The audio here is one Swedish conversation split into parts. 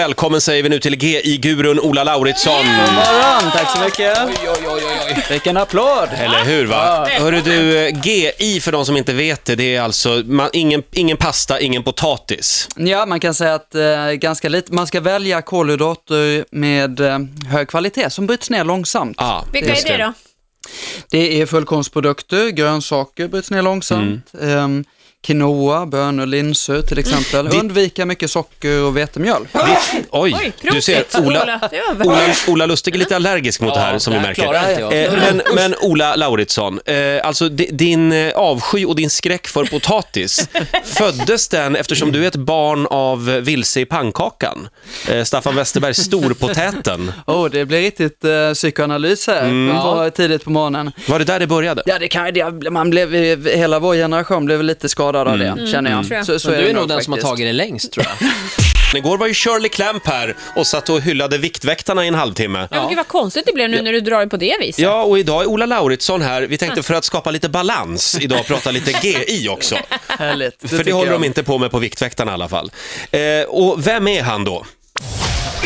Välkommen säger vi nu till GI-gurun Ola Lauritsson. morgon, tack så mycket. Oj, oj, oj, oj. Vilken applåd. Eller hur va? Hörru du, eh, GI för de som inte vet det, det är alltså man, ingen, ingen pasta, ingen potatis. Ja, man kan säga att eh, ganska lite, man ska välja kolhydrater med eh, hög kvalitet som bryts ner långsamt. Ah, Vilka just är det då? Det är fullkornsprodukter, grönsaker bryts ner långsamt, ehm, quinoa, bönor, linser till exempel. Mm. Undvika mycket socker och vetemjöl. Oj, Oj, du ser prosit. Ola, Det var bra. Ola, Ola Lustig är lite allergisk mot det här som vi det här märker. klarar inte jag. Eh, Men, men Ola Lauritsson, eh, alltså di- din eh, avsky och din skräck för potatis, föddes den eftersom du är ett barn av eh, vilse i pannkakan? Eh, Staffan Westerberg, storpotäten. Åh, det blir riktigt eh, psykoanalys här, Mm. på, tidigt på morgonen. Var det där det började? Ja, det kan det, man blev, eh, hela vår generation blev lite skadad av det, känner jag. tror jag. Så, så Mm. Du är nog den faktiskt. som har tagit det längst tror jag. Igår var ju Shirley Clamp här och satt och hyllade Viktväktarna i en halvtimme. Ja, men gud vad konstigt det blev nu när du drar det på det viset. Ja, och idag är Ola Lauritsson här. Vi tänkte för att skapa lite balans idag prata lite GI också. Härligt. Det För det tycker håller jag. de inte på med på Viktväktarna i alla fall. Eh, och vem är han då?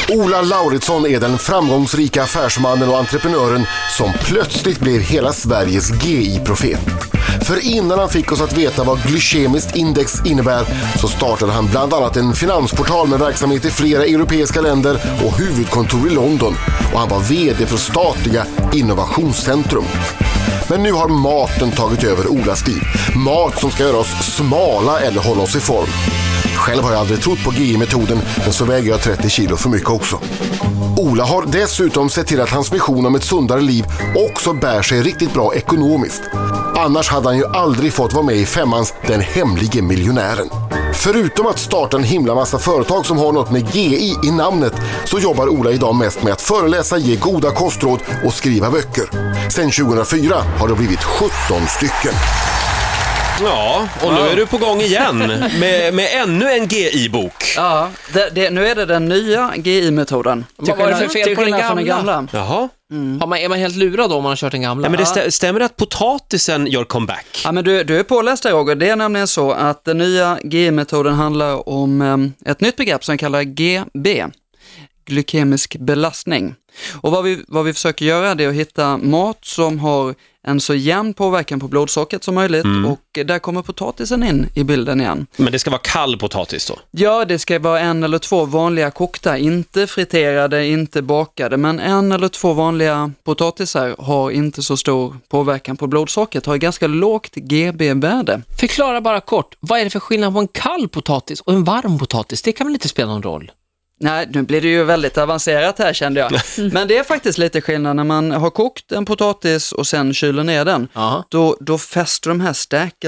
Ola Lauritsson är den framgångsrika affärsmannen och entreprenören som plötsligt blev hela Sveriges GI-profet. För innan han fick oss att veta vad glykemiskt index innebär så startade han bland annat en finansportal med verksamhet i flera europeiska länder och huvudkontor i London. Och han var VD för statliga innovationscentrum. Men nu har maten tagit över Olas liv. Mat som ska göra oss smala eller hålla oss i form. Själv har jag aldrig trott på GI-metoden, men så väger jag 30 kilo för mycket också. Ola har dessutom sett till att hans vision om ett sundare liv också bär sig riktigt bra ekonomiskt. Annars hade han ju aldrig fått vara med i femmans Den hemlige miljonären. Förutom att starta en himla massa företag som har något med GI i namnet så jobbar Ola idag mest med att föreläsa, ge goda kostråd och skriva böcker. Sedan 2004 har det blivit 17 stycken. Ja, och nu är du på gång igen med, med ännu en GI-bok. Ja, det, det, nu är det den nya GI-metoden. Till var det skillnad- för fel till på den skillnad från gamla? Jaha. Har man, är man helt lurad då om man har kört den gamla? Ja, men det stä- stämmer det att potatisen gör comeback? Ja, men du, du är påläst där Roger. Det är nämligen så att den nya GI-metoden handlar om em, ett nytt begrepp som kallas GB, glykemisk belastning. Och vad vi, vad vi försöker göra det är att hitta mat som har en så jämn påverkan på blodsockret som möjligt och där kommer potatisen in i bilden igen. Men det ska vara kall potatis då? Ja, det ska vara en eller två vanliga kokta, inte friterade, inte bakade, men en eller två vanliga potatisar har inte så stor påverkan på blodsockret, har ganska lågt GB-värde. Förklara bara kort, vad är det för skillnad på en kall potatis och en varm potatis? Det kan väl inte spela någon roll? Nej, nu blir det ju väldigt avancerat här kände jag. Men det är faktiskt lite skillnad när man har kokt en potatis och sen kyler ner den. Ja. Då, då fäster de här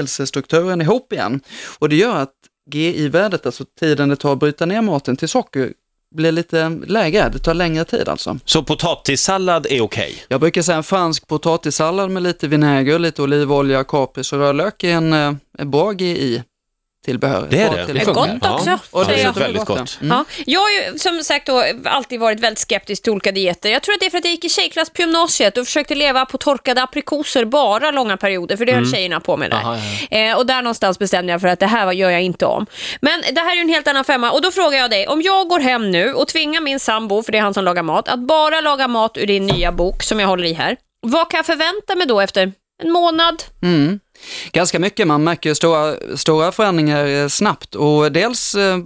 stärkelsestrukturen ihop igen. Och det gör att GI-värdet, alltså tiden det tar att bryta ner maten till socker, blir lite lägre. Det tar längre tid alltså. Så potatissallad är okej? Jag brukar säga en fransk potatissallad med lite vinäger, lite olivolja, kapris och rödlök är en, eh, en bra GI-tillbehör. Det är Bra det. till- Det är funkar. gott också, Ja, det säger är jag. väldigt gott. Ja, jag har ju som sagt då alltid varit väldigt skeptisk till olika dieter. Jag tror att det är för att jag gick i tjejklass på gymnasiet och försökte leva på torkade aprikoser bara långa perioder, för det höll tjejerna på med där. Aha, Eh, och där någonstans bestämde jag för att det här gör jag inte om. Men det här är ju en helt annan femma och då frågar jag dig, om jag går hem nu och tvingar min sambo, för det är han som lagar mat, att bara laga mat ur din nya bok som jag håller i här. Vad kan jag förvänta mig då efter en månad? Ganska mycket, man märker ju stora, stora förändringar eh, snabbt och dels eh,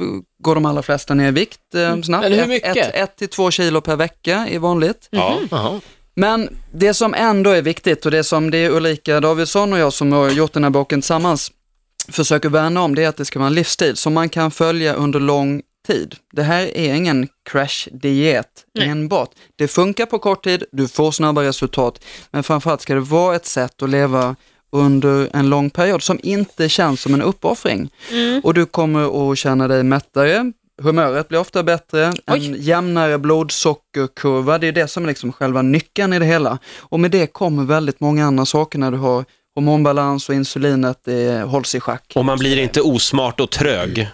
går de allra flesta ner i vikt eh, Mm. snabbt. Men hur Ett- mycket? Ett, ett till två kilo per vecka är vanligt. Ja. Jaha. Men det som ändå är viktigt och det som det är Ulrika Davidsson och jag som har gjort den här boken tillsammans försöker värna om det är att det ska vara en livsstil som man kan följa under lång tid. Det här är ingen crash-diet enbart. Det funkar på kort tid, du får snabba resultat, men framförallt ska det vara ett sätt att leva under en lång period som inte känns som en uppoffring. Och du kommer att känna dig mättare, humöret blir ofta bättre, en jämnare blodsockerkurva, det är det som är liksom själva nyckeln i det hela. Och med det kommer väldigt många andra saker när du har hormonbalans och insulinet eh, hålls i schack. Och man blir inte osmart och trög, eh,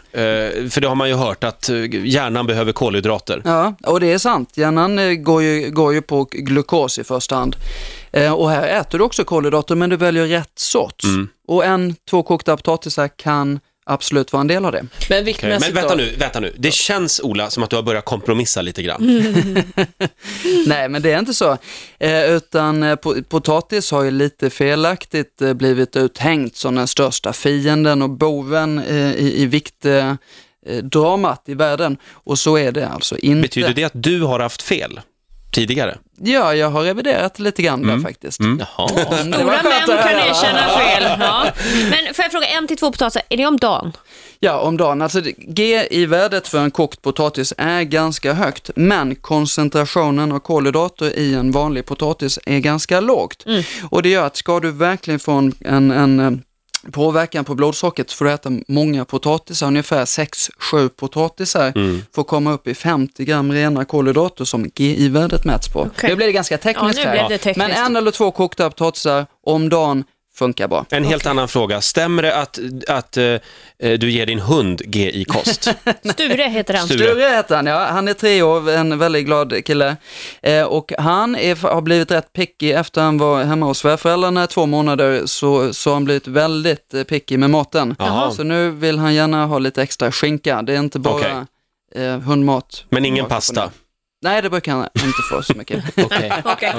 för det har man ju hört att eh, hjärnan behöver kolhydrater. Ja, och det är sant. Hjärnan eh, går ju, går ju på glukos i första hand. Eh, och här äter du också kolhydrater, men du väljer rätt sorts. Och en, två kokta potatisar kan absolut vara en del av det. Men Okej, Men viktmässigt vänta då? nu, vänta nu. Det känns, Ola, som att du har börjat kompromissa lite grann. Nej, men det är inte så. Eh, utan eh, po- potatis har ju lite felaktigt eh, blivit uthängt som den största fienden och boven eh, i, i vikt eh, eh, dramat i världen och så är det alltså inte. Betyder det att du har haft fel tidigare? Ja, jag har reviderat lite grann där faktiskt. Jaha. Mm, det var Stora män skönt att kan höra. erkänna fel. Ja. Men får jag fråga, en till två potatisar, är det om dagen? Ja, om dagen. Alltså det- G i värdet för en kokt potatis är ganska högt, men koncentrationen av kolhydrater i en vanlig potatis är ganska lågt. Mm. Och det gör att ska du verkligen få en, en, en eh, påverkan på blodsockret får du äta många potatisar, ungefär 6-7 potatisar, Mm. för att komma upp i 50 gram rena kolhydrater som GI-värdet mäts på. Okej. Nu blir det ganska tekniskt Ja, nu blev det här, tekniskt. men en eller två kokta potatisar om dagen funkar bra. En helt annan fråga. Stämmer det att, att eh, du ger din hund GI-kost? Sture heter han. Sture. Sture heter han, ja. Han är tre år, en väldigt glad kille. Eh, och han är, har blivit rätt picky efter han var hemma hos svärföräldrarna i två månader så, så har han blivit väldigt eh, picky med maten. Jaha. Så nu vill han gärna ha lite extra skinka. Det är inte bara eh, hundmat. Men ingen Hundmat. pasta? Nej, det brukar han inte få så mycket. Okej. Okej.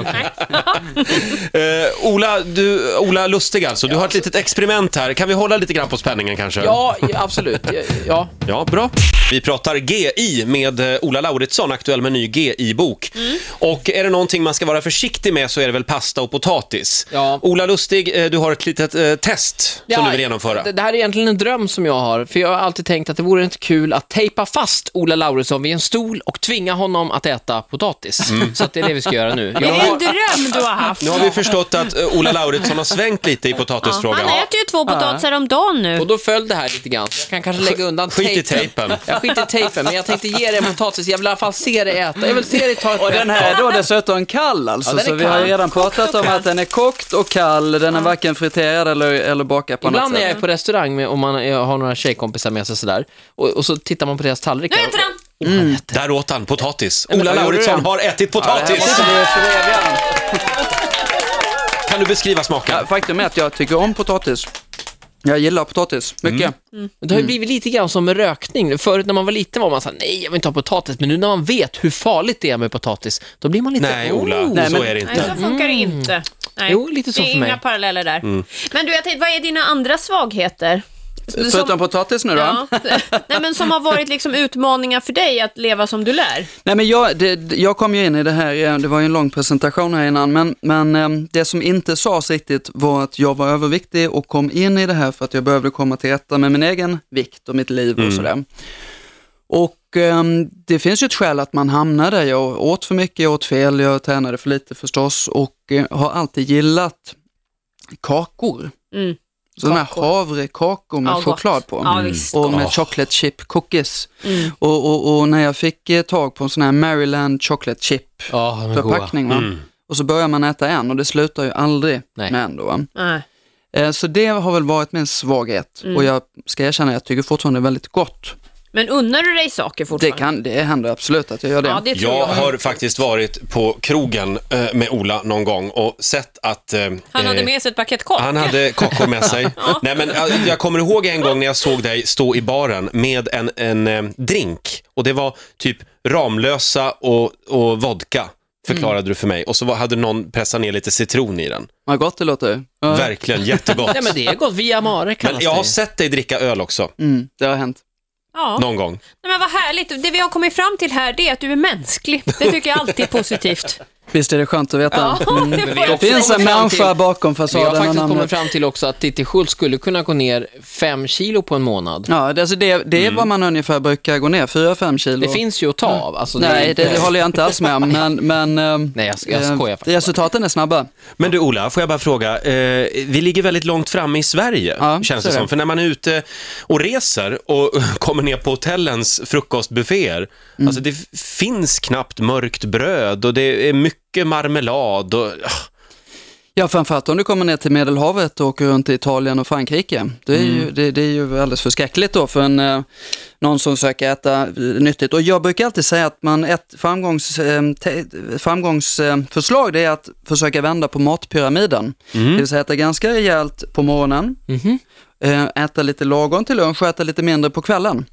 Eh, Ola, du, Ola Lustig alltså, du har ett litet experiment här. Kan vi hålla lite grann på spänningen kanske? Ja, absolut. Ja. Ja, bra. Vi pratar GI med eh, Ola Lauritsson, aktuell med ny GI-bok. Och är det någonting man ska vara försiktig med så är det väl pasta och potatis. Ja. Ola Lustig, eh, du har ett litet eh, test som du vill genomföra. Det, det här är egentligen en dröm som jag har, för jag har alltid tänkt att det vore inte kul att tejpa fast Ola Lauritsson vid en stol och tvinga honom att äta potatis. Mm. Så att det är det vi ska göra nu. Jag Är det en har, dröm du har haft? Nu har vi förstått att eh, Ola Lauritsson har svängt lite i potatisfrågan. Han äter ju två potatisar om dagen nu. och då föll det här lite grann, så jag kan kanske lägga undan Skit i tejpen. Jag skiter i tejpen, men jag tänkte ge dig en potatis. Jag vill i alla fall se dig äta. Jag vill se dig ta ett Och den här är då dessutom kall alltså, Ja, den är så vi har kall. ju redan pratat om att den är kokt och kall, den är varken friterad eller, eller bakad på något Ibland när sätt. jag är på restaurang med, och man jag har några tjejkompisar med sig sådär, och, och så tittar man på deras tallrikar. Nu äter han! Där åt han potatis. men Ola vad gjorde Lauritsson du? har ätit Det här potatis. måste vi föreviga. Kan du beskriva smaken? Ja, faktum är att jag tycker om potatis. Jag gillar potatis, mycket. Det har ju blivit lite grann som med rökning. Förut när man var liten var man såhär, nej jag vill inte ha potatis. Men nu när man vet hur farligt det är med potatis, då blir man lite... Nej, Ola, Oh. så men- är det Nej, inte. så funkar det inte. Nej. Jo, lite så det är för mig. inga paralleller där. Men du, jag tänkte, vad är dina andra svagheter? Förutom potatis nu då. ja. Nej, men som har varit liksom utmaningar för dig att leva som du lär. Nej, men jag, det, det- jag kom ju in i det här, eh, det var ju en lång presentation här innan, men, men eh, det som inte sades riktigt var att jag var överviktig och kom in i det här för att jag behövde komma till rätta med min egen vikt och mitt liv och sådär. Och eh, det finns ju ett skäl att man hamnar där. Jag åt för mycket, jag åt fel, jag tränade för lite förstås och eh, har alltid gillat kakor. Mm. Sådana här havrekakor med Ja, gott. choklad på. Ja, visst. Mm. och med Åh. chocolate chip cookies. Och, och, och när jag fick eh, tag på en sån här Maryland chocolate chip Ja, de är goda. förpackning va? och så börjar man äta en och det slutar ju aldrig Nej. med en då. Va? Nej. Eh, Så det har väl varit min svaghet Mm. och jag ska erkänna, jag tycker fortfarande väldigt gott. Men unnar du dig saker Det, fortfarande? kan, det händer absolut att jag gör det. Ja, det tror Jag jag. har faktiskt varit på krogen eh, med Ola någon gång och sett att... eh, Han hade eh, med sig ett paket kakor. Han hade kakor med sig. Nej, men eh, jag kommer ihåg en gång när jag såg dig stå i baren med en, en eh, drink. Och det var typ Ramlösa och, och vodka, förklarade du för mig. Och så var, hade någon pressat ner lite citron i den. Vad gott det låter. Ja, Verkligen jättegott. Nej men det är gott, via mare kallas Men jag har det. sett dig dricka öl också, mm, det har hänt. Ja. någon gång. Nej, men vad härligt. Det vi har kommit fram till här det är att du är mänsklig. Det tycker jag alltid är positivt. Visst är det skönt att veta. Ja, Mm. det får vi Det jag också- säga. finns en kommit fram till- människa bakom Vi har fasaden och faktiskt kommit namnet. fram till också att Titti Schultz skulle kunna gå ner fem kilo på en månad. Ja, det, alltså det, det är vad man ungefär brukar gå ner, 4-5 kilo. Det finns ju att ta av. Alltså, det är Nej, inte- det, det håller jag inte alls med om, men, men ehm, Nej, jag- jag eh, skojar faktiskt resultaten är snabba. Men du Ola, får jag bara fråga, eh, vi ligger väldigt långt framme i Sverige, Ja, känns så det är som. det. För när man är ute och reser och kommer ner på hotellens frukostbufféer, Mm. alltså det f- finns knappt mörkt bröd och det är mycket marmelad och... ah, Ja, framförallt om du kommer ner till Medelhavet och åker runt i Italien och Frankrike. Det är, ju, det, det är ju alldeles förskräckligt då för en, eh, någon som försöker äta eh, nyttigt. Och jag brukar alltid säga att man ett framgångsförslag framgångs, eh, förslag, det är att försöka vända på matpyramiden. Det vill säga äta ganska rejält på morgonen. eh, äta lite lagom till lunch och äta lite mindre på kvällen.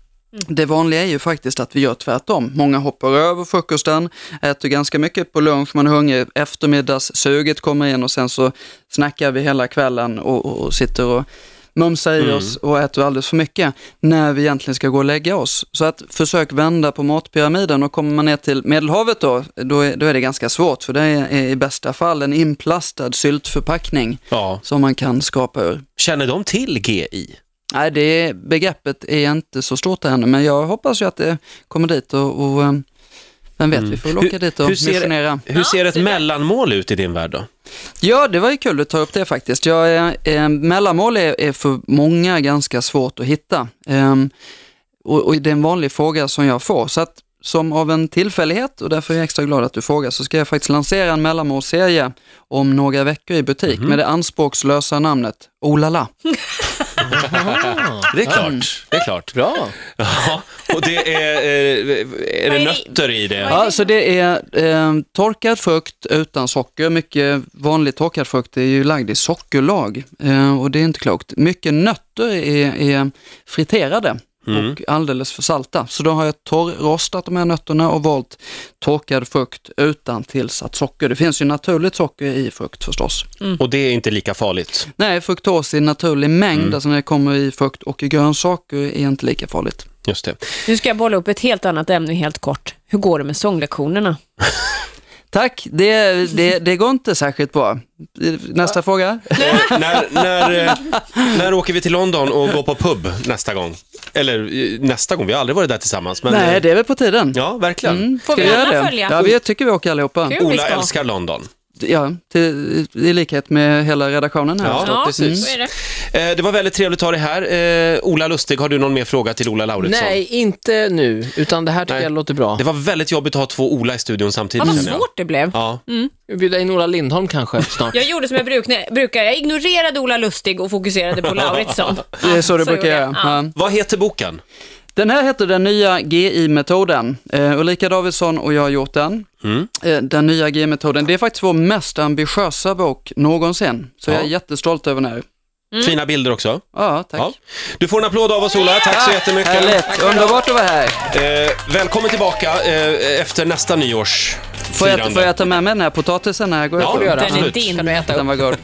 Det vanliga är ju faktiskt att vi gör tvärtom. Många hoppar över frukosten, äter ganska mycket på lunch, man är hungrig, eftermiddagssuget kommer in och sen så snackar vi hela kvällen och, och, och sitter och mumsar i oss och äter alldeles för mycket när vi egentligen ska gå och lägga oss. Så att försök vända på matpyramiden och kommer man ner till Medelhavet då, då är, då är det ganska svårt för det är i bästa fall en inplastad syltförpackning Ja. som man kan skapa ur. Känner de till GI? Nej, det begreppet är inte så stort ännu, men jag hoppas ju att det kommer dit och, och eh, vem vet, vi får väl åka Mm. Hur- dit och hur ser- missionera. Hur ser ett mellanmål ut i din värld då? Ja, det var ju kul att ta upp det faktiskt. Jag, är- eh, mellanmål är, är för många ganska svårt att hitta. Ehm, och, och det är en vanlig fråga som jag får. Så att som av en tillfällighet, och därför är jag extra glad att du frågar, så ska jag faktiskt lansera en mellanmålsserie om några veckor i butik Mhm. med det anspråkslösa namnet Olala. Det är klart. Det är klart. Bra. Ja, och det är, eh, är Vad är det det- nötter i det? vad är- Ja, så det är eh, torkad frukt utan socker. Mycket vanlig torkad frukt är ju lagd i sockerlag eh, och det är inte klokt. Mycket nötter är, är friterade och alldeles för salta. Så då har jag torrrostat de här nötterna och valt torkad frukt utan tillsatt socker. Det finns ju naturligt socker i frukt förstås. Och det är inte lika farligt. Nej, fruktos i naturlig mängd, alltså när det kommer i frukt och i grönsaker, är inte lika farligt. Just det. Nu ska jag bolla upp ett helt annat ämne helt kort. Hur går det med sånglektionerna? Tack, det, det, det går inte särskilt bra. Nästa fråga. Eh, när, när, eh, när åker vi till London och går på pub nästa gång? Eller eh, nästa gång, vi har aldrig varit där tillsammans. Men, Nej, eh, det är väl på tiden. Ja, verkligen. Får Ska vi göra alla det? följa? Ja, vi, jag tycker vi åker allihopa. Kul. Jo, vi Ola ska. älskar London. Ja, till, I likhet med hela redaktionen här. Ja, Mm. alltså. precis. så är det. Eh, Det var väldigt trevligt att ha dig här. Eh, Ola Lustig, har du någon mer fråga till Ola Lauritsson? Nej, inte nu, utan det här tycker Typ Nej. jag låter bra. Det var väldigt jobbigt att ha två Ola i studion Ja, samtidigt. vad känner jag. svårt det blev. Mm. Ja. Vi bjuder in Ola Lindholm kanske snart. Jag gjorde som jag bruk- brukar. Jag ignorerade Ola Lustig och fokuserade på Lauritsson. Det är så du brukar gjorde jag. göra. Ja. Ja. Vad heter boken? Den här heter Den nya GI-metoden. Eh, Ulrika Davidsson och jag har gjort den. Mm. Eh, den nya GI-metoden, det är faktiskt vår mest ambitiösa bok någonsin. Så jag är Ja. jättestolt över den här. Fina bilder också. Ja, tack. Ja. Du får en applåd av oss Ola, tack så jättemycket. Härligt, underbart att vara här. Eh, välkommen tillbaka eh, efter nästa nyårs Får jag, får jag ta med mig den här potatisen när jag går Ja, ut? det gör Den är Absolut. din. Kan du äta upp? Den var god.